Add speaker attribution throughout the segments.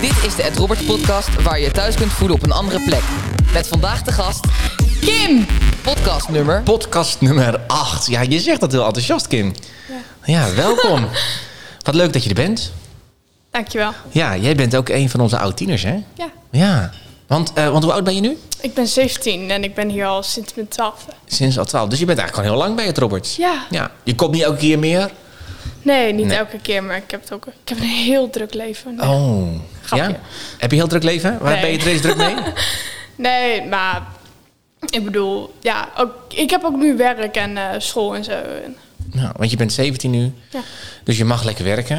Speaker 1: Dit is de Ed Roberts podcast waar je je thuis kunt voelen op een andere plek. Met vandaag de gast
Speaker 2: Kim!
Speaker 1: podcast nummer.
Speaker 3: Podcast nummer 8. Ja, je zegt dat heel enthousiast, Kim. Ja, welkom. Wat leuk dat je er bent.
Speaker 2: Dankjewel.
Speaker 3: Ja, jij bent ook een van onze oud-tieners, hè?
Speaker 2: Ja,
Speaker 3: Ja. Want, eh, want hoe oud ben je nu?
Speaker 2: ik ben 17 en ik ben hier al sinds mijn 12.
Speaker 3: Sinds al 12. Dus je bent eigenlijk gewoon heel lang bij het, Roberts.
Speaker 2: Ja.
Speaker 3: ja. Je komt niet elke keer meer?
Speaker 2: Nee, niet
Speaker 3: Nee.
Speaker 2: elke keer, maar ik heb, het ook, ik heb een heel druk leven. Nee,
Speaker 3: Oh.
Speaker 2: Grapje.
Speaker 3: Ja? Heb je heel druk leven? Waar
Speaker 2: Nee.
Speaker 3: ben je het race druk mee?
Speaker 2: nee maar ik bedoel, ja, ook, ik heb ook nu werk en eh, school en zo. En
Speaker 3: nou, want je bent 17 nu.
Speaker 2: Ja.
Speaker 3: Dus je mag lekker werken.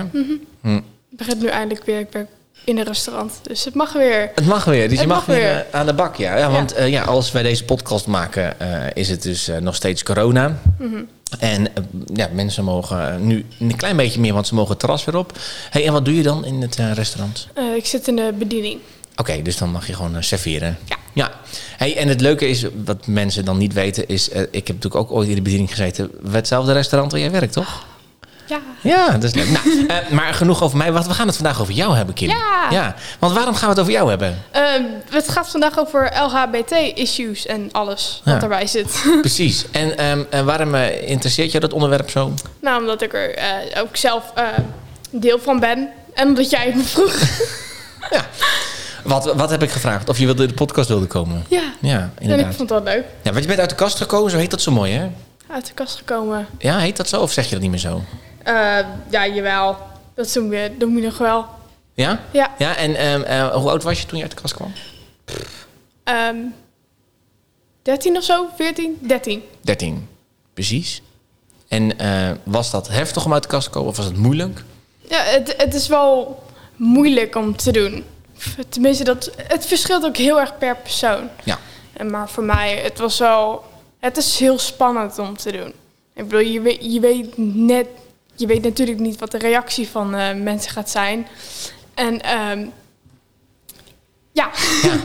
Speaker 2: het begint nu eindelijk weer, ik ben in een restaurant, dus het mag weer.
Speaker 3: Het mag weer, dus
Speaker 2: Het
Speaker 3: je mag,
Speaker 2: mag
Speaker 3: weer
Speaker 2: weer.
Speaker 3: eh, aan de bak, ja. ja want eh, ja, als wij deze podcast maken, eh, is het dus eh, nog steeds corona. En eh, ja, mensen mogen eh, nu een klein beetje meer, want ze mogen het terras weer op. hey, en wat doe je dan in het eh, restaurant?
Speaker 2: Eh, ik zit in de bediening.
Speaker 3: Oké, dus dan mag je gewoon eh, serveren.
Speaker 2: Ja.
Speaker 3: Hey, en het leuke is, wat mensen dan niet weten, is... eh, ik heb natuurlijk ook ooit in de bediening gezeten. Hetzelfde restaurant waar jij werkt, toch?
Speaker 2: Ja.
Speaker 3: Ja, dat is leuk. nou, eh, maar genoeg over mij, want we gaan het vandaag over jou hebben, Kim.
Speaker 2: Ja.
Speaker 3: ja. Want waarom gaan we het over jou hebben?
Speaker 2: Ehm, het gaat vandaag over LHBT-issues en alles wat
Speaker 3: Ja.
Speaker 2: daarbij zit.
Speaker 3: Precies. En, ehm, en waarom eh, interesseert jou dat onderwerp zo?
Speaker 2: nou, omdat ik er eh, ook zelf eh, deel van ben. En omdat jij het me vroeg.
Speaker 3: Ja. Wat, wat heb ik gevraagd? Of je wilde in de podcast wilde komen?
Speaker 2: Ja.
Speaker 3: Ja,
Speaker 2: En ik
Speaker 3: inderdaad.
Speaker 2: vond dat leuk.
Speaker 3: Ja, want je bent uit de kast gekomen, zo heet dat zo mooi, hè?
Speaker 2: Uit de kast gekomen.
Speaker 3: Ja, heet dat zo? Of zeg je dat niet meer zo?
Speaker 2: Eh, ja, jawel. Dat doen we, doen we nog wel.
Speaker 3: Ja?
Speaker 2: Ja.
Speaker 3: Ja, en ehm, eh, hoe oud was je toen je uit de kast kwam?
Speaker 2: Ehm 13 of zo? 14? 13.
Speaker 3: 13. Precies. En eh, was dat heftig om uit de kast te komen? Of was het moeilijk?
Speaker 2: Ja, het, het is wel moeilijk om te doen. Tenminste, dat, het verschilt ook heel erg per persoon.
Speaker 3: Ja.
Speaker 2: En maar voor mij, het was wel... Het is heel spannend om te doen. Ik bedoel, je weet, je weet net... Je weet natuurlijk niet wat de reactie van eh, mensen gaat zijn. En ehm, ja,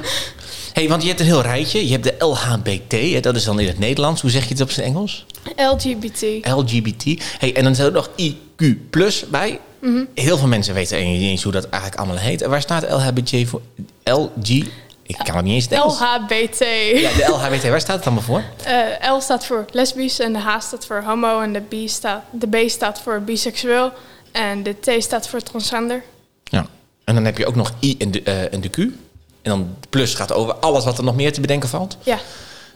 Speaker 3: hey, want je hebt een heel rijtje. Je hebt de LHBT, hè, dat is dan in het Nederlands. Hoe zeg je het op zijn Engels?
Speaker 2: LGBT.
Speaker 3: LGBT. Hey, en dan zit er nog IQ plus bij.
Speaker 2: Mhm.
Speaker 3: Heel veel mensen weten eigenlijk niet eens hoe dat eigenlijk allemaal heet. En waar staat LHBT voor? LG? Ik kan het niet eens in het Engels.
Speaker 2: LHBT.
Speaker 3: Ja, de LHBT. Waar staat het allemaal voor?
Speaker 2: Eh, L staat voor lesbisch en de H staat voor homo en de B staat, de B staat voor biseksueel en de T staat voor transgender.
Speaker 3: Ja. En dan heb je ook nog I en de, eh, en de Q. En dan plus gaat over alles wat er nog meer te bedenken valt.
Speaker 2: Ja,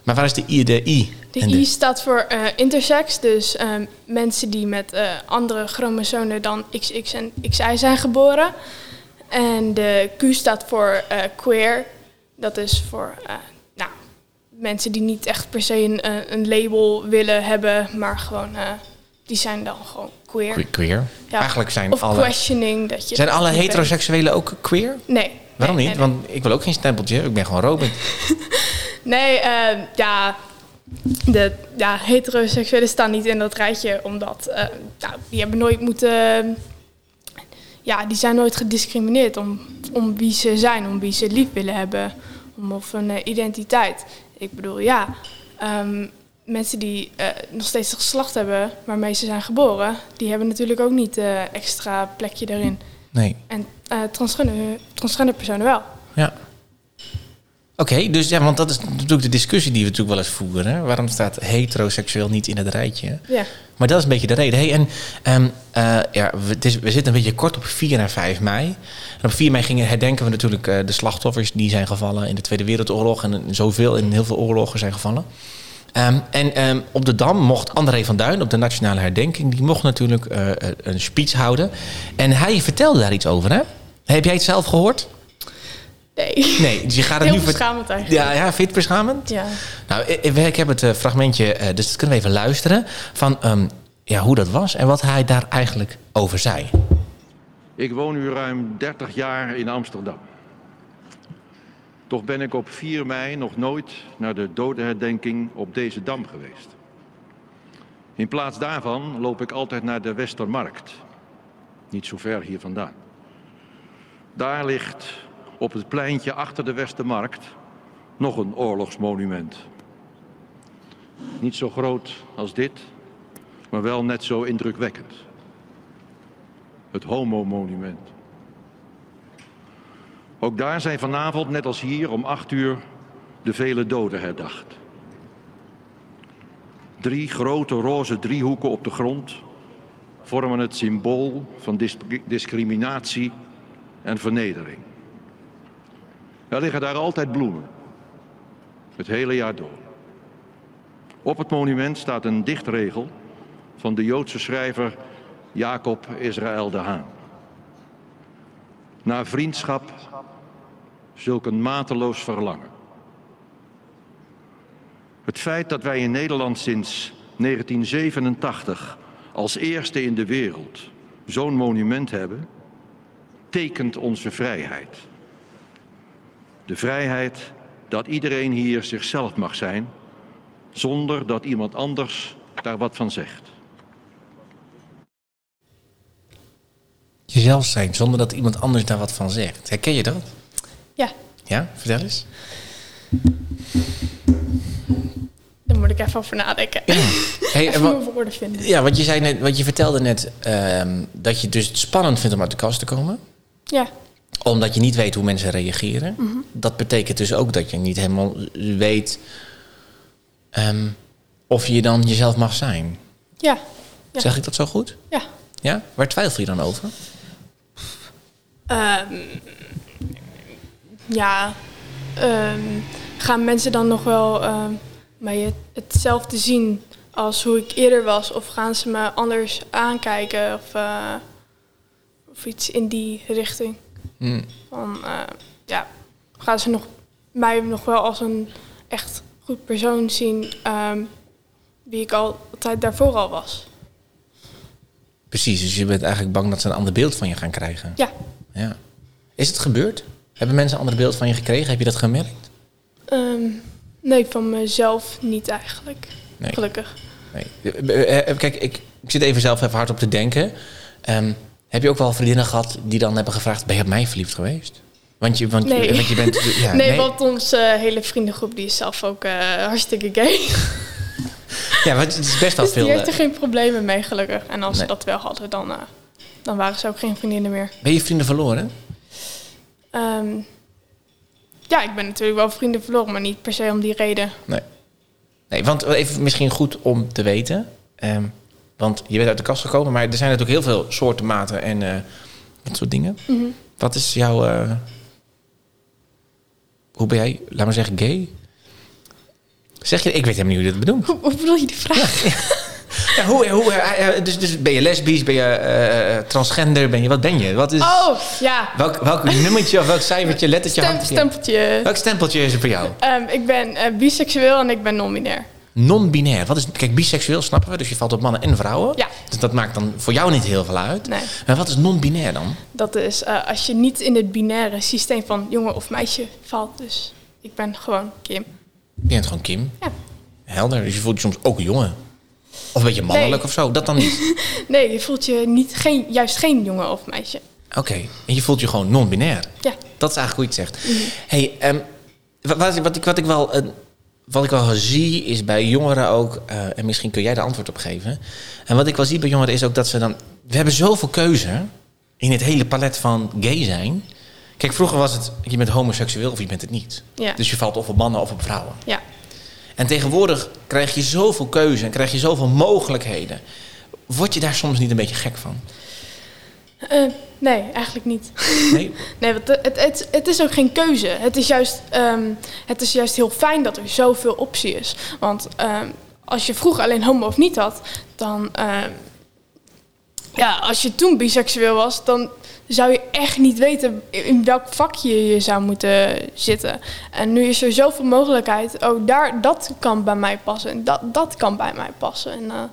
Speaker 3: Maar waar is de I, de I?
Speaker 2: de
Speaker 3: en
Speaker 2: I staat voor eh, intersex, dus eh, mensen die met eh, andere chromosomen dan XX en XY zijn geboren. En de Q staat voor eh, queer, dat is voor eh, nou, mensen die niet echt per se een, eh, een label willen hebben, maar gewoon, eh, die zijn dan gewoon queer.
Speaker 3: Que- Queer.
Speaker 2: Ja.
Speaker 3: Eigenlijk zijn
Speaker 2: of
Speaker 3: alle,
Speaker 2: questioning dat je
Speaker 3: zijn alle
Speaker 2: niet bent.
Speaker 3: heteroseksuelen ook queer?
Speaker 2: Nee.
Speaker 3: Waarom
Speaker 2: Nee,
Speaker 3: niet?
Speaker 2: Nee,
Speaker 3: Want ik wil ook geen stempeltje. Ik ben gewoon Robin.
Speaker 2: nee eh, ja, de ja, heteroseksuelen staan niet in dat rijtje, omdat eh, nou, die hebben nooit moeten. Ja, die zijn nooit gediscrimineerd om, om wie ze zijn, om wie ze lief willen hebben, om of hun eh, identiteit. Ik bedoel, ja, ehm, mensen die eh, nog steeds het geslacht hebben waarmee ze zijn geboren, die hebben natuurlijk ook niet eh, extra plekje daarin.
Speaker 3: Nee.
Speaker 2: En eh, transgender, transgender personen wel.
Speaker 3: Ja. Oké, dus ja, want dat is natuurlijk de discussie die we natuurlijk wel eens voeren. Hè? Waarom staat heteroseksueel niet in het rijtje?
Speaker 2: Ja.
Speaker 3: Maar dat is een beetje de reden. Hey, en ehm, eh, ja, we, het is- we zitten een beetje kort op 4 en 5 mei. En op 4 mei gingen, herdenken we natuurlijk eh, de slachtoffers die zijn gevallen in de Tweede Wereldoorlog. En in zoveel in heel veel oorlogen zijn gevallen. Ehm, en ehm, op de Dam mocht André van Duin, op de Nationale Herdenking, die mocht natuurlijk eh, eh, een speech houden. En hij vertelde daar iets over, hè? Heb jij het zelf gehoord?
Speaker 2: Nee.
Speaker 3: Nee, dus je gaat het
Speaker 2: Heel
Speaker 3: nu... vert-
Speaker 2: beschamend eigenlijk.
Speaker 3: Ja, ja, vind je het beschamend?
Speaker 2: Ja.
Speaker 3: Nou, ik, ik- ik heb het eh, fragmentje, eh, dus dat kunnen we even luisteren... van ehm, ja, hoe dat was en wat hij daar eigenlijk over zei.
Speaker 4: Ik woon nu ruim 30 jaar in Amsterdam. Toch ben ik op 4 mei nog nooit naar de dodenherdenking op deze dam geweest. In plaats daarvan loop ik altijd naar de Westermarkt. Niet zo ver hier vandaan. Daar ligt op het pleintje achter de Westermarkt nog een oorlogsmonument. Niet zo groot als dit, maar wel net zo indrukwekkend het homo-monument. Ook daar zijn vanavond, net als hier, om acht uur de vele doden herdacht. Drie grote roze driehoeken op de grond vormen het symbool van dis- discriminatie en vernedering. Er liggen daar altijd bloemen, het hele jaar door. Op het monument staat een dichtregel van de Joodse schrijver Jacob Israël de Haan. Naar vriendschap zulk een mateloos verlangen. Het feit dat wij in Nederland sinds 1987 als eerste in de wereld zo'n monument hebben, tekent onze vrijheid. De vrijheid dat iedereen hier zichzelf mag zijn, zonder dat iemand anders daar wat van zegt.
Speaker 3: Jezelf zijn zonder dat iemand anders daar wat van zegt. Herken je dat?
Speaker 2: Ja,
Speaker 3: Ja, vertel eens.
Speaker 2: daar moet ik even over nadenken.
Speaker 3: Hey, en
Speaker 2: even
Speaker 3: wa-
Speaker 2: mijn woorden vinden.
Speaker 3: ja, want je, zei net, want je vertelde net ehm, dat je het dus spannend vindt om uit de kast te komen.
Speaker 2: Ja,
Speaker 3: Omdat je niet weet hoe mensen reageren.
Speaker 2: Mhm.
Speaker 3: Dat betekent dus ook dat je niet helemaal weet ehm, of je dan jezelf mag zijn.
Speaker 2: ja, Ja.
Speaker 3: Zeg ik dat zo goed?
Speaker 2: ja.
Speaker 3: Ja? Waar twijfel je dan over?
Speaker 2: Ehm, ja, ehm, gaan mensen dan nog wel ehm, mij het- hetzelfde zien als hoe ik eerder was? Of gaan ze me anders aankijken? Of, eh, of iets in die richting? Van, eh, ja, gaan ze nog, mij nog wel als een echt goed persoon zien ehm, wie ik al- altijd daarvoor al was?
Speaker 3: Precies, dus je bent eigenlijk bang dat ze een ander beeld van je gaan krijgen.
Speaker 2: Ja,
Speaker 3: Ja. Is het gebeurd? Hebben mensen een ander beeld van je gekregen? Heb je dat gemerkt?
Speaker 2: ehm, nee, van mezelf niet eigenlijk.
Speaker 3: Nee.
Speaker 2: Gelukkig.
Speaker 3: Nee. Eh, eh, Kijk, ik, ik zit even zelf even hard op te denken. Ehm, heb je ook wel vriendinnen gehad die dan hebben gevraagd... ben je op mij verliefd geweest? Want je, want,
Speaker 2: Nee.
Speaker 3: je, want je bent... Ja,
Speaker 2: nee, want onze eh, hele vriendengroep die is zelf ook eh, hartstikke gay.
Speaker 3: ja, want het is best wel
Speaker 2: dus die
Speaker 3: veel...
Speaker 2: heeft er
Speaker 3: eh,
Speaker 2: geen problemen mee, gelukkig. En als
Speaker 3: Nee.
Speaker 2: ze dat wel hadden, dan, eh, dan waren ze ook geen vriendinnen meer.
Speaker 3: Ben je vrienden verloren?
Speaker 2: Ehm, ja, ik ben natuurlijk wel vrienden verloren, maar niet per se om die reden.
Speaker 3: Nee. Nee, want even misschien goed om te weten. ehm, want je bent uit de kast gekomen, maar er zijn natuurlijk heel veel soorten, maten en eh, dat soort dingen. Wat is jouw. eh, hoe ben jij, laat maar zeggen, gay? Zeg je, ik weet helemaal niet hoe je dit bedoelt.
Speaker 2: Hoe, hoe bedoel je die vraag?
Speaker 3: Ja, hoe, hoe, eh, eh, dus, dus ben je lesbisch, ben je eh, eh, transgender, ben je, wat ben je? Wat is,
Speaker 2: Oh, ja.
Speaker 3: welk, welk nummertje of welk cijfertje, lettertje,
Speaker 2: Stem-
Speaker 3: handje?
Speaker 2: stempeltje.
Speaker 3: Welk stempeltje is er voor jou?
Speaker 2: Ehm, ik ben eh, biseksueel en ik ben non-binair.
Speaker 3: non-binair. Wat is, kijk, biseksueel snappen we, dus je valt op mannen en vrouwen.
Speaker 2: Ja.
Speaker 3: Dus dat maakt dan voor jou niet heel veel uit.
Speaker 2: Nee.
Speaker 3: Maar wat is non-binair dan?
Speaker 2: Dat is eh, als je niet in het binaire systeem van jongen of meisje valt. Dus ik ben gewoon Kim.
Speaker 3: Je bent gewoon Kim.
Speaker 2: Ja.
Speaker 3: Helder. Dus je voelt je soms ook een jongen. Of een beetje mannelijk
Speaker 2: Nee.
Speaker 3: of zo. Dat dan niet.
Speaker 2: Nee, je voelt je niet, geen, juist geen jongen of meisje.
Speaker 3: Oké. En je voelt je gewoon non-binair.
Speaker 2: Ja.
Speaker 3: Dat is eigenlijk hoe je het zegt. Hey, ehm, wa- wat, ik- wat, ik, wat, ik wel, eh, wat ik wel zie is bij jongeren ook, eh, en misschien kun jij daar antwoord op geven. En wat ik wel zie bij jongeren is ook dat ze dan. We hebben zoveel keuze in het hele palet van gay zijn. Kijk, vroeger was het, je bent homoseksueel of je bent het niet.
Speaker 2: Ja.
Speaker 3: Dus je valt of op mannen of op vrouwen.
Speaker 2: Ja.
Speaker 3: En tegenwoordig krijg je zoveel keuze en krijg je zoveel mogelijkheden. Word je daar soms niet een beetje gek van?
Speaker 2: Eh, nee, eigenlijk niet.
Speaker 3: Nee?
Speaker 2: Nee, want het, het, het is ook geen keuze. Het is, juist, ehm, het is juist heel fijn dat er zoveel optie is. Want ehm, als je vroeger alleen homo of niet had, dan. ehm, ja, als je toen biseksueel was, dan zou je echt niet weten in- in welk vakje je zou moeten zitten. En nu is er zoveel mogelijkheid. Oh, daar, dat kan bij mij passen. En dat, dat kan bij mij passen. En, eh, ja,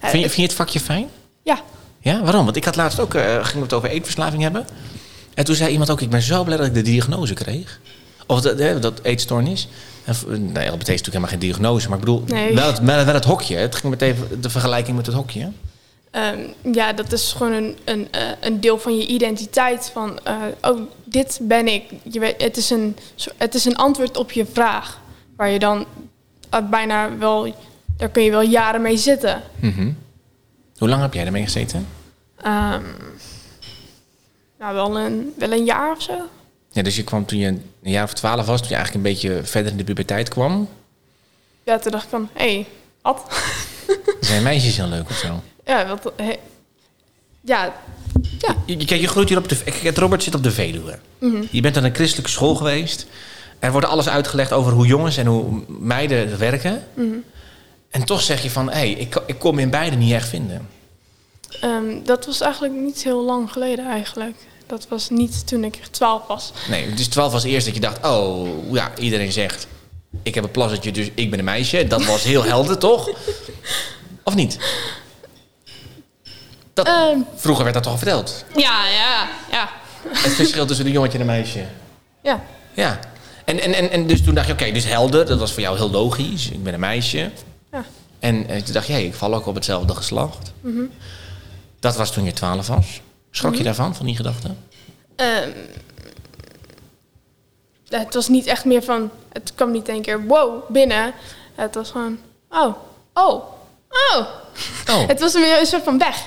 Speaker 3: Vind
Speaker 2: het-
Speaker 3: je, vind je het vakje fijn?
Speaker 2: ja,
Speaker 3: Ja, waarom? Want ik had laatst ook, eh gingen we het over eetverslaving hebben. En toen zei iemand ook, ik ben zo blij dat ik de diagnose kreeg. Of dat, eh, dat eetstoornis. En, v- nee, dat betekent natuurlijk helemaal geen diagnose. Maar ik bedoel,
Speaker 2: Nee.
Speaker 3: wel, het, wel, wel het hokje. Het ging meteen de vergelijking met het hokje.
Speaker 2: Ehm, ja, dat is gewoon een, een, eh, een deel van je identiteit. Van, eh, oh, dit ben ik. Je weet, het, is een, zo- het is een antwoord op je vraag. Waar je dan eh, bijna wel... Daar kun je wel jaren mee zitten.
Speaker 3: Hoe lang heb jij daarmee gezeten?
Speaker 2: Ehm, nou, wel een, wel een jaar of zo.
Speaker 3: Ja, dus je kwam toen je een jaar of twaalf was, toen je eigenlijk een beetje verder in de puberteit kwam.
Speaker 2: Ja, toen dacht ik van, hé, hey, Ad.
Speaker 3: Zijn meisjes heel leuk of zo?
Speaker 2: ja, wat, hé. ja,
Speaker 3: Je, je- kijk, je groeit hier op de... Kijk, Robert zit op de Veluwe. Je bent aan een christelijke school geweest. Er wordt alles uitgelegd over hoe jongens en hoe meiden werken. En toch zeg je van, hé, hey, ik, ik kon me in beide niet echt vinden.
Speaker 2: ehm, dat was eigenlijk niet heel lang geleden eigenlijk. Dat was niet toen ik 12 was.
Speaker 3: Nee, dus 12 was eerst dat je dacht, oh, ja, iedereen zegt... Ik heb een plassetje, dus ik ben een meisje. Dat was heel helder, toch? Of niet? Dat,
Speaker 2: Ehm,
Speaker 3: vroeger werd dat toch al verteld?
Speaker 2: ja, ja, ja.
Speaker 3: Het verschil tussen een jongetje en een meisje.
Speaker 2: Ja,
Speaker 3: Ja. En, en, en, en dus toen dacht je, oké, dus helder, dat was voor jou heel logisch. Ik ben een meisje.
Speaker 2: ja.
Speaker 3: En eh, toen dacht je, hey, ik val ook op hetzelfde geslacht. Dat was toen je 12 was. Schrok je daarvan, van die gedachte?
Speaker 2: Ehm, het was niet echt meer van, het kwam niet één keer wow binnen. Het was gewoon, oh, oh, oh.
Speaker 3: Oh,
Speaker 2: Het was weer een soort van weg.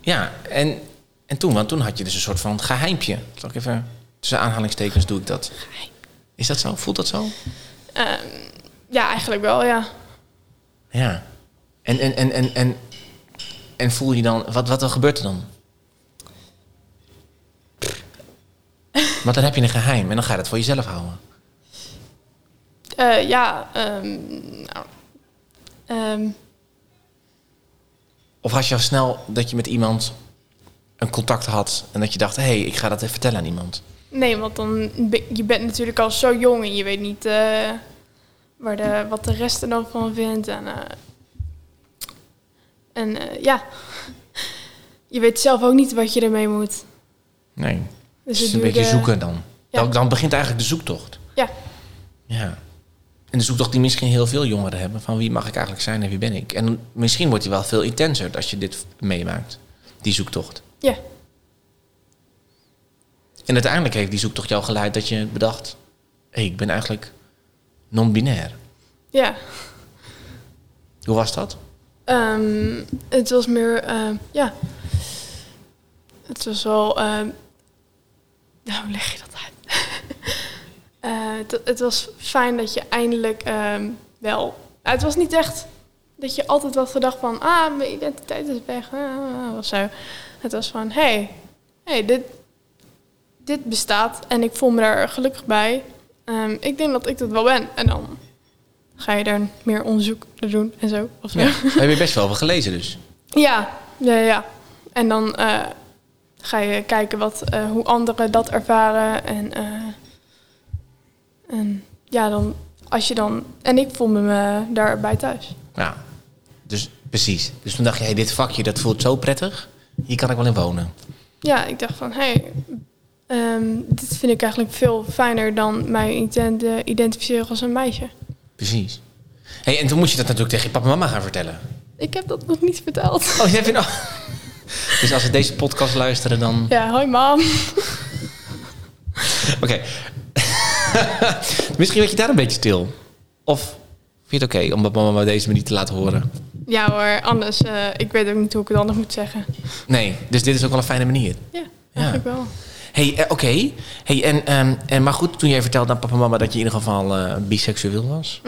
Speaker 3: ja. En, en toen, want toen had je dus een soort van geheimpje. Zal ik even, tussen aanhalingstekens doe ik dat. Is dat zo? Voelt dat zo?
Speaker 2: Ehm, ja, eigenlijk wel, ja.
Speaker 3: Ja. En, en, en, en, en, en voel je dan, wat, wat er gebeurt er dan? Want dan heb je een geheim en dan ga je dat voor jezelf houden.
Speaker 2: Eh, ja, ehm, nou, ehm,
Speaker 3: Of had je al snel dat je met iemand een contact had en dat je dacht, hé, hey, ik ga dat even vertellen aan iemand.
Speaker 2: nee, want dan be- je bent natuurlijk al zo jong en je weet niet eh, waar de, wat de rest er dan van vindt. En, eh, en eh, ja, je weet zelf ook niet wat je ermee moet.
Speaker 3: Nee. Dus
Speaker 2: het
Speaker 3: een beetje
Speaker 2: duurde-
Speaker 3: zoeken dan.
Speaker 2: Ja.
Speaker 3: dan. Dan begint eigenlijk de zoektocht.
Speaker 2: Ja,
Speaker 3: Ja. En de zoektocht die misschien heel veel jongeren hebben. Van wie mag ik eigenlijk zijn en wie ben ik? En misschien wordt die wel veel intenser als je dit meemaakt. Die zoektocht.
Speaker 2: ja,
Speaker 3: En uiteindelijk heeft die zoektocht jou geleid dat je bedacht... hé, ik ben eigenlijk non-binair.
Speaker 2: ja.
Speaker 3: Hoe was dat?
Speaker 2: Ehm, het was meer, ehm, ja. Het was wel. ehm, nou, hoe leg je dat uit? Eh, het, het was fijn dat je eindelijk ehm, wel. nou, het was niet echt dat je altijd had gedacht van, ah, mijn identiteit is weg, ah, ah, ah, of zo. Het was van, hé, hey, hey, dit, dit bestaat en ik voel me daar gelukkig bij. Ehm, ik denk dat ik dat wel ben. En dan ga je daar meer onderzoek naar doen en zo. Of zo.
Speaker 3: Ja. Daar heb je best wel van gelezen dus.
Speaker 2: Ja, ja, ja. En dan eh, ga je kijken wat, eh, hoe anderen dat ervaren. En, eh, en ja, dan als je dan. En ik voel me daarbij thuis.
Speaker 3: Ja, dus precies. Dus toen dacht je, hey, dit vakje dat voelt zo prettig. Hier kan ik wel in wonen.
Speaker 2: Ja, ik dacht van hé, hey, ehm, dit vind ik eigenlijk veel fijner dan mij ident- eh, identificeren als een meisje.
Speaker 3: Precies. Hey, en toen moest je dat natuurlijk tegen je papa en mama gaan vertellen.
Speaker 2: Ik heb dat nog niet verteld.
Speaker 3: Oh, jij vindt... oh. Dus als ze deze podcast luisteren dan...
Speaker 2: Ja, hoi mam.
Speaker 3: Oké. Misschien werd je daar een beetje stil. Of vind je het oké om dat mama op deze manier te laten horen?
Speaker 2: Ja hoor, anders, eh, ik weet ook niet hoe ik het anders moet zeggen.
Speaker 3: Nee, dus dit is ook wel een fijne manier.
Speaker 2: Ja, eigenlijk wel.
Speaker 3: Hey, eh, oké. Hey, en, ehm, en, maar goed, toen jij vertelde aan papa en mama dat je in ieder geval eh, biseksueel was.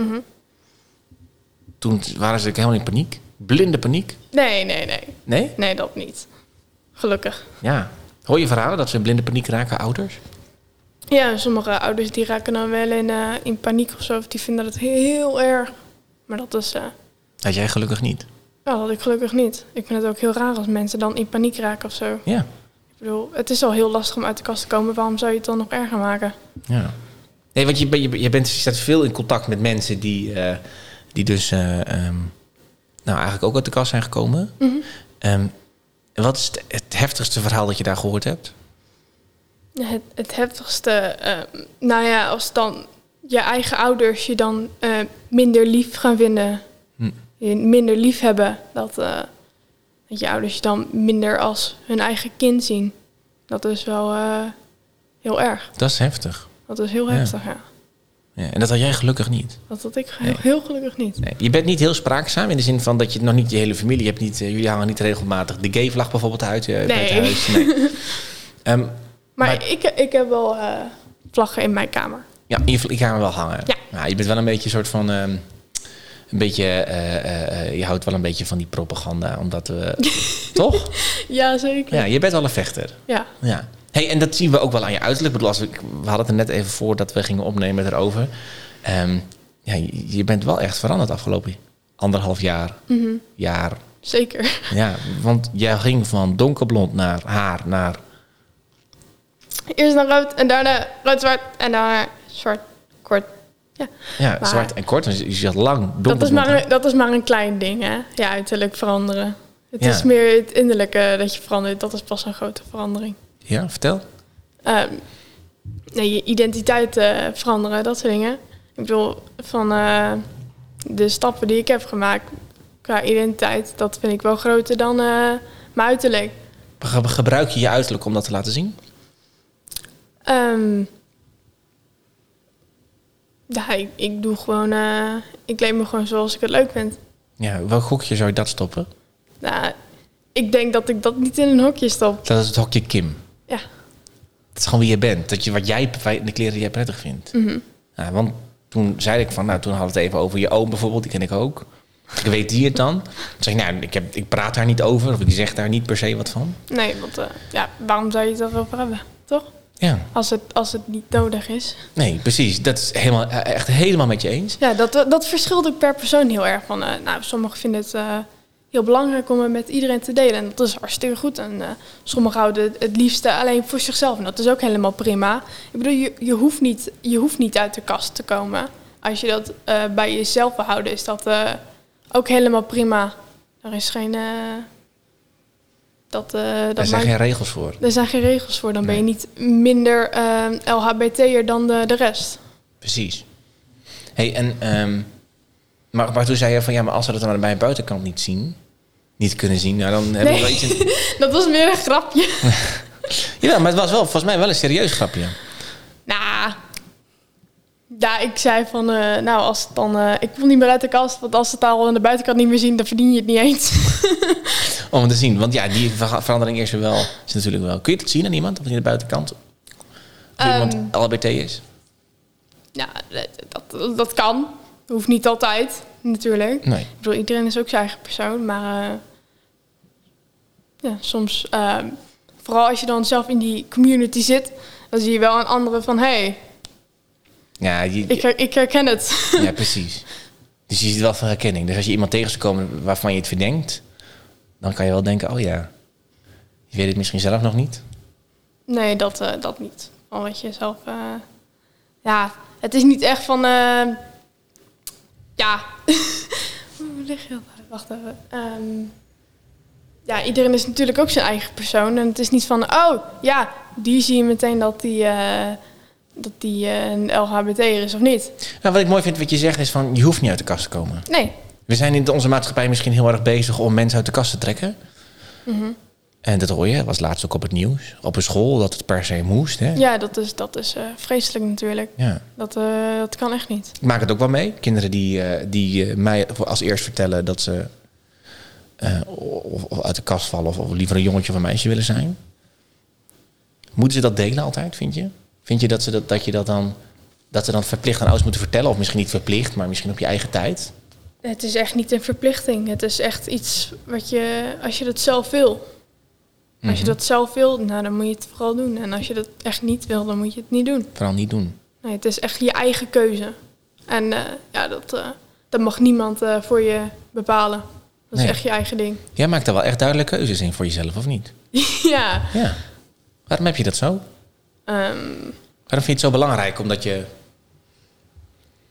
Speaker 3: Toen waren ze natuurlijk helemaal in paniek. Blinde paniek.
Speaker 2: Nee, nee, nee.
Speaker 3: Nee?
Speaker 2: Nee, dat niet. Gelukkig.
Speaker 3: Ja. Hoor je verhalen dat ze in blinde paniek raken, ouders?
Speaker 2: Ja, sommige ouders die raken dan wel in, eh, in paniek of zo. Of die vinden dat heel erg. Maar dat is... eh
Speaker 3: Dat jij gelukkig niet.
Speaker 2: ja, dat had ik gelukkig niet. Ik vind het ook heel raar als mensen dan in paniek raken of zo.
Speaker 3: Ja.
Speaker 2: Ik bedoel, het is al heel lastig om uit de kast te komen. Waarom zou je het dan nog erger maken?
Speaker 3: ja. Nee, want je, ben- je, je, bent, je staat veel in contact met mensen die, eh, die dus eh, ehm, nou, eigenlijk ook uit de kast zijn gekomen. Ehm, wat is het, het heftigste verhaal dat je daar gehoord hebt?
Speaker 2: Het, het heftigste... eh, nou ja, als dan je eigen ouders je dan eh, minder lief gaan vinden.
Speaker 3: Hm.
Speaker 2: Je minder lief hebben. Dat, eh, dat je ouders je dan minder als hun eigen kind zien. Dat is wel eh, heel erg.
Speaker 3: Dat is heftig.
Speaker 2: Dat is heel
Speaker 3: Ja.
Speaker 2: heftig, ja.
Speaker 3: Ja, en dat had jij gelukkig niet.
Speaker 2: Dat had ik heel,
Speaker 3: Nee.
Speaker 2: heel gelukkig niet.
Speaker 3: Nee, je bent niet heel spraakzaam in de zin van dat je nog niet je hele familie hebt. Niet, eh, jullie hangen niet regelmatig de gay-vlag bijvoorbeeld uit eh, bij het
Speaker 2: Nee.
Speaker 3: huis. Nee. Ehm,
Speaker 2: Maar,
Speaker 3: Maar-
Speaker 2: ik, ik heb wel eh, vlaggen in mijn kamer.
Speaker 3: Ja, in je vliegkamer wel hangen.
Speaker 2: Ja.
Speaker 3: je bent wel een beetje een soort van... ehm, een beetje, eh, eh, eh, je houdt wel een beetje van die propaganda, omdat we... toch?
Speaker 2: Ja, zeker.
Speaker 3: Ja, je bent wel een vechter.
Speaker 2: ja.
Speaker 3: Ja. Hey, en dat zien we ook wel aan je uiterlijk. Ik bedoel, als ik, we hadden het er net even voor dat we gingen opnemen erover. Ehm, ja, je- je bent wel echt veranderd afgelopen anderhalf jaar. Jaar.
Speaker 2: zeker.
Speaker 3: Ja, want jij ging van donkerblond naar haar, naar...
Speaker 2: Eerst naar rood en daarna rood-zwart en daarna zwart kort. Ja.
Speaker 3: Ja,
Speaker 2: Maar-
Speaker 3: zwart en kort. want Je je zat lang donkerblond.
Speaker 2: Dat, is maar
Speaker 3: haar.
Speaker 2: een, dat is maar een klein ding, hè? Ja, uiterlijk veranderen. Het
Speaker 3: Ja.
Speaker 2: is meer het innerlijke dat je verandert. Dat is pas een grote verandering.
Speaker 3: Ja, vertel.
Speaker 2: Ehm, nee, je identiteit eh, veranderen, dat soort dingen. Ik bedoel, van eh, de stappen die ik heb gemaakt qua identiteit, dat vind ik wel groter dan eh, mijn uiterlijk.
Speaker 3: Ge- Gebruik je je uiterlijk om dat te laten zien?
Speaker 2: Ehm, ja, ik, ik doe gewoon, eh, ik leef me gewoon zoals ik het leuk vind.
Speaker 3: Ja, welk hokje zou je dat stoppen?
Speaker 2: Nou, ik denk dat ik dat niet in een hokje stop.
Speaker 3: Dat is het hokje Kim.
Speaker 2: Ja,
Speaker 3: Het is gewoon wie je bent. Dat je wat jij, de kleren die jij prettig vindt.
Speaker 2: Mhm.
Speaker 3: Ja, want toen zei ik van, nou toen hadden we het even over je oom bijvoorbeeld, die ken ik ook. Ik weet die het dan. Toen zei ik, nou ik, heb, ik praat daar niet over of ik zeg daar niet per se wat van.
Speaker 2: nee, want eh, ja, waarom zou je het erover hebben, toch?
Speaker 3: Ja,
Speaker 2: Als het, als het niet nodig is.
Speaker 3: nee, precies. Dat is helemaal, eh, echt helemaal met je eens.
Speaker 2: Ja, dat, dat verschilt ook per persoon heel erg. Van, eh, nou, sommigen vinden het eh, heel belangrijk om het met iedereen te delen. En dat is hartstikke goed. En eh, sommigen houden het, het liefste alleen voor zichzelf. En dat is ook helemaal prima. Ik bedoel, je, je, hoeft, niet, je hoeft niet uit de kast te komen. Als je dat eh, bij jezelf wil houden, is dat eh, ook helemaal prima. Er is geen... eh, dat, eh, dat
Speaker 3: Daar zijn
Speaker 2: maakt-
Speaker 3: geen regels voor.
Speaker 2: er zijn geen regels voor. Dan ben je niet minder eh, LHBT'er dan de, de rest.
Speaker 3: Precies. Hey, en, ehm, maar, maar toen zei je van, ja maar als ze dat dan aan de buitenkant niet zien, niet kunnen zien, nou dan hebben we
Speaker 2: Nee.
Speaker 3: wel iets in-
Speaker 2: Dat was meer een grapje.
Speaker 3: Ja, maar het was wel volgens mij wel een serieus grapje.
Speaker 2: Nou, ja, ik zei van, eh, nou, als het dan, eh, ik wil niet meer uit de kast, want als ze het al aan de buitenkant niet meer zien, dan verdien je het niet eens.
Speaker 3: Om het te zien. Want ja, die ver- verandering is er wel. Is natuurlijk wel. Kun je het zien aan iemand? Of aan de buitenkant? Of
Speaker 2: Ehm.
Speaker 3: iemand LBT is?
Speaker 2: nou, dat, dat, dat kan. Hoeft niet altijd, natuurlijk.
Speaker 3: Nee.
Speaker 2: Ik bedoel, iedereen is ook zijn eigen persoon, maar eh, ja, soms, eh, vooral als je dan zelf in die community zit, dan zie je wel een andere van, hé, hey,
Speaker 3: Ja, je-
Speaker 2: ik, her- ik herken het.
Speaker 3: ja, precies. Dus je ziet wel van herkenning. Dus als je iemand tegen zou komen waarvan je het verdenkt, dan kan je wel denken, oh ja, je weet het misschien zelf nog niet.
Speaker 2: Nee, dat, eh, dat niet. Van wat je zelf. eh, ja, het is niet echt van. eh, ja. Hoe leg je dat uit? Wacht even. Ehm, ja, iedereen is natuurlijk ook zijn eigen persoon. En het is niet van. Oh, ja, die zie je meteen dat die. eh, dat die eh, een LHBT'er is of niet.
Speaker 3: Nou, wat ik mooi vind wat je zegt is van, je hoeft niet uit de kast te komen.
Speaker 2: Nee.
Speaker 3: We zijn in onze maatschappij misschien heel erg bezig om mensen uit de kast te trekken. En dat hoor je, dat was laatst ook op het nieuws. Op een school, dat het per se moest. Hè?
Speaker 2: Ja, dat is, dat is eh, vreselijk natuurlijk.
Speaker 3: ja.
Speaker 2: Dat, eh, dat kan echt niet.
Speaker 3: Ik maak het ook wel mee. Kinderen die, eh, die eh, mij voor- als eerst vertellen dat ze eh, of, of uit de kast vallen of, of liever een jongetje of een meisje willen zijn. Moeten ze dat delen altijd, vind je? Vind je dat ze dat, dat, je dat dan dat ze dan verplicht aan ouders moeten vertellen? Of misschien niet verplicht, maar misschien op je eigen tijd.
Speaker 2: Het is echt niet een verplichting. Het is echt iets wat je, als je dat zelf wil. Als je dat zelf wil, nou, dan moet je het vooral doen. En als je dat echt niet wil, dan moet je het niet doen.
Speaker 3: Vooral niet doen.
Speaker 2: Nee, het is echt je eigen keuze. En eh, ja, dat, eh, dat mag niemand eh, voor je bepalen. Dat is
Speaker 3: Nee.
Speaker 2: echt je eigen ding.
Speaker 3: Jij maakt daar wel echt duidelijke keuzes in voor jezelf, of niet?
Speaker 2: ja.
Speaker 3: Ja. Waarom heb je dat zo?
Speaker 2: Ehm,
Speaker 3: Waarom vind je het zo belangrijk? Omdat je...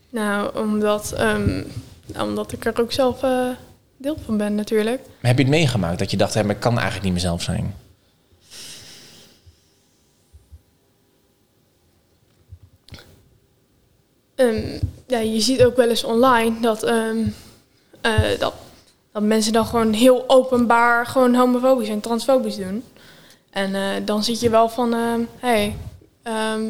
Speaker 2: nou, omdat, ehm, omdat ik er ook zelf eh, deel van ben natuurlijk.
Speaker 3: Maar Heb je het meegemaakt dat je dacht, hè, maar ik kan eigenlijk niet mezelf zijn?
Speaker 2: Ehm, ja, je ziet ook wel eens online dat, ehm, eh, dat, dat mensen dan gewoon heel openbaar gewoon homofobisch en transfobisch doen. En eh, dan zit je wel van, ehm, hey, ehm,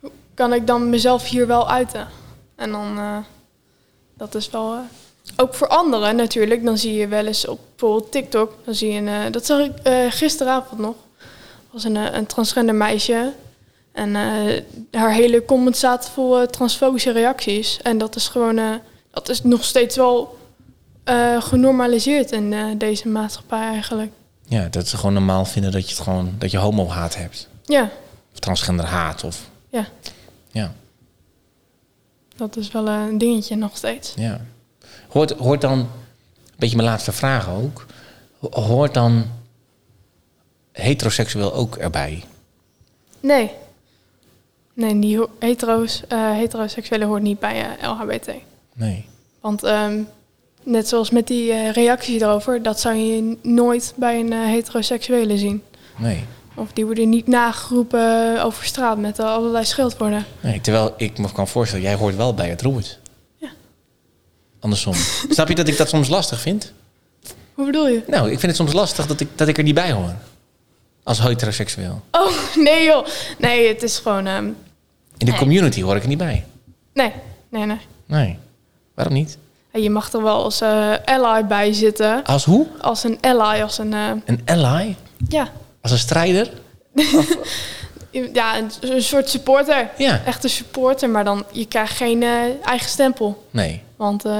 Speaker 2: hoe kan ik dan mezelf hier wel uiten? En dan, eh, dat is wel, eh, ook voor anderen natuurlijk, dan zie je wel eens op bijvoorbeeld TikTok, dan zie je, een, eh, dat zag ik eh, gisteravond nog, was een, eh, een transgender meisje. En eh, haar hele comment staat vol eh, transfobische reacties. En dat is gewoon, eh, dat is nog steeds wel eh, genormaliseerd in eh, deze maatschappij eigenlijk.
Speaker 3: Ja, dat ze gewoon normaal vinden dat je het gewoon dat je homo-haat hebt.
Speaker 2: Ja,
Speaker 3: Of transgender haat. Of,
Speaker 2: ja,
Speaker 3: ja,
Speaker 2: dat is wel eh, een dingetje nog steeds.
Speaker 3: ja. Hoort, hoort dan, een beetje mijn laatste vraag ook. ho- Hoort dan heteroseksueel ook erbij?
Speaker 2: Nee. Nee, die ho- hetero's, eh heteroseksuele hoort niet bij eh, LHBT.
Speaker 3: Nee.
Speaker 2: Want ehm, net zoals met die eh, reactie erover, dat zou je nooit bij een eh, heteroseksuele zien.
Speaker 3: Nee.
Speaker 2: Of die worden niet nageroepen over straat met eh, allerlei schildwoorden.
Speaker 3: Nee, terwijl ik me kan voorstellen, jij hoort wel bij het roert.
Speaker 2: Ja.
Speaker 3: Andersom. Snap je dat ik dat soms lastig vind?
Speaker 2: Hoe bedoel je?
Speaker 3: Nou, ik vind het soms lastig dat ik, dat ik er niet bij hoor. Als heteroseksueel.
Speaker 2: Oh, nee joh. Nee, het is gewoon... ehm,
Speaker 3: In de community hoor ik er niet bij.
Speaker 2: nee, nee, nee.
Speaker 3: Nee. Waarom niet?
Speaker 2: En Je mag er wel als eh, ally bij zitten.
Speaker 3: Als hoe?
Speaker 2: Als een ally, als een... eh,
Speaker 3: Een ally?
Speaker 2: ja,
Speaker 3: Als een strijder?
Speaker 2: ja een, een soort supporter.
Speaker 3: Ja.
Speaker 2: Echt een supporter, maar dan... Je krijgt geen eh, eigen stempel.
Speaker 3: Nee.
Speaker 2: Want... eh,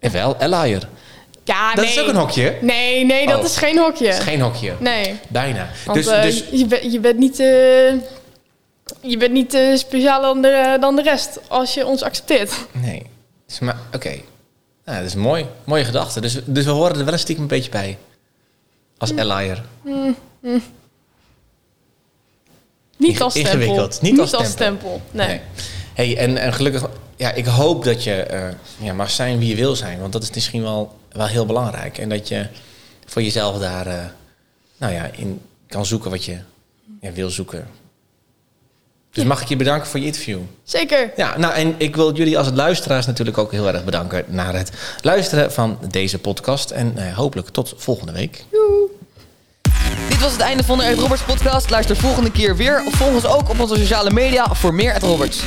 Speaker 3: En wel, allyer.
Speaker 2: ja,
Speaker 3: Dat
Speaker 2: nee.
Speaker 3: is ook een hokje. hè?
Speaker 2: Nee, nee, dat
Speaker 3: Oh.
Speaker 2: is geen hokje.
Speaker 3: Dat is geen hokje.
Speaker 2: Nee.
Speaker 3: Bijna.
Speaker 2: Want
Speaker 3: dus,
Speaker 2: eh,
Speaker 3: dus,
Speaker 2: je, bent- je bent niet... eh, je bent niet eh, specialer dan de, dan de rest als je ons accepteert.
Speaker 3: nee. Dus, maar, oké. Nou, dat is mooi. Mooie gedachte. Dus, dus we horen er wel een stiekem een beetje bij. Als
Speaker 2: Hm.
Speaker 3: allyer.
Speaker 2: Niet als stempel.
Speaker 3: Ingewikkeld. Niet als stempel.
Speaker 2: Nee.
Speaker 3: Hey, en, en gelukkig, ja, ik hoop dat je eh, ja, mag zijn wie je wil zijn. Want dat is misschien wel, wel heel belangrijk. En dat je voor jezelf daar eh, nou ja, in kan zoeken wat je ja, wil zoeken. Dus mag ik je bedanken voor je interview?
Speaker 2: Zeker.
Speaker 3: Ja, nou en ik wil jullie als luisteraars natuurlijk ook heel erg bedanken naar het luisteren van deze podcast. En eh, hopelijk tot volgende week.
Speaker 1: Dit was het einde van de Ed Roberts podcast. Luister volgende keer weer. Of volg ons ook op onze sociale media voor meer Ed Roberts.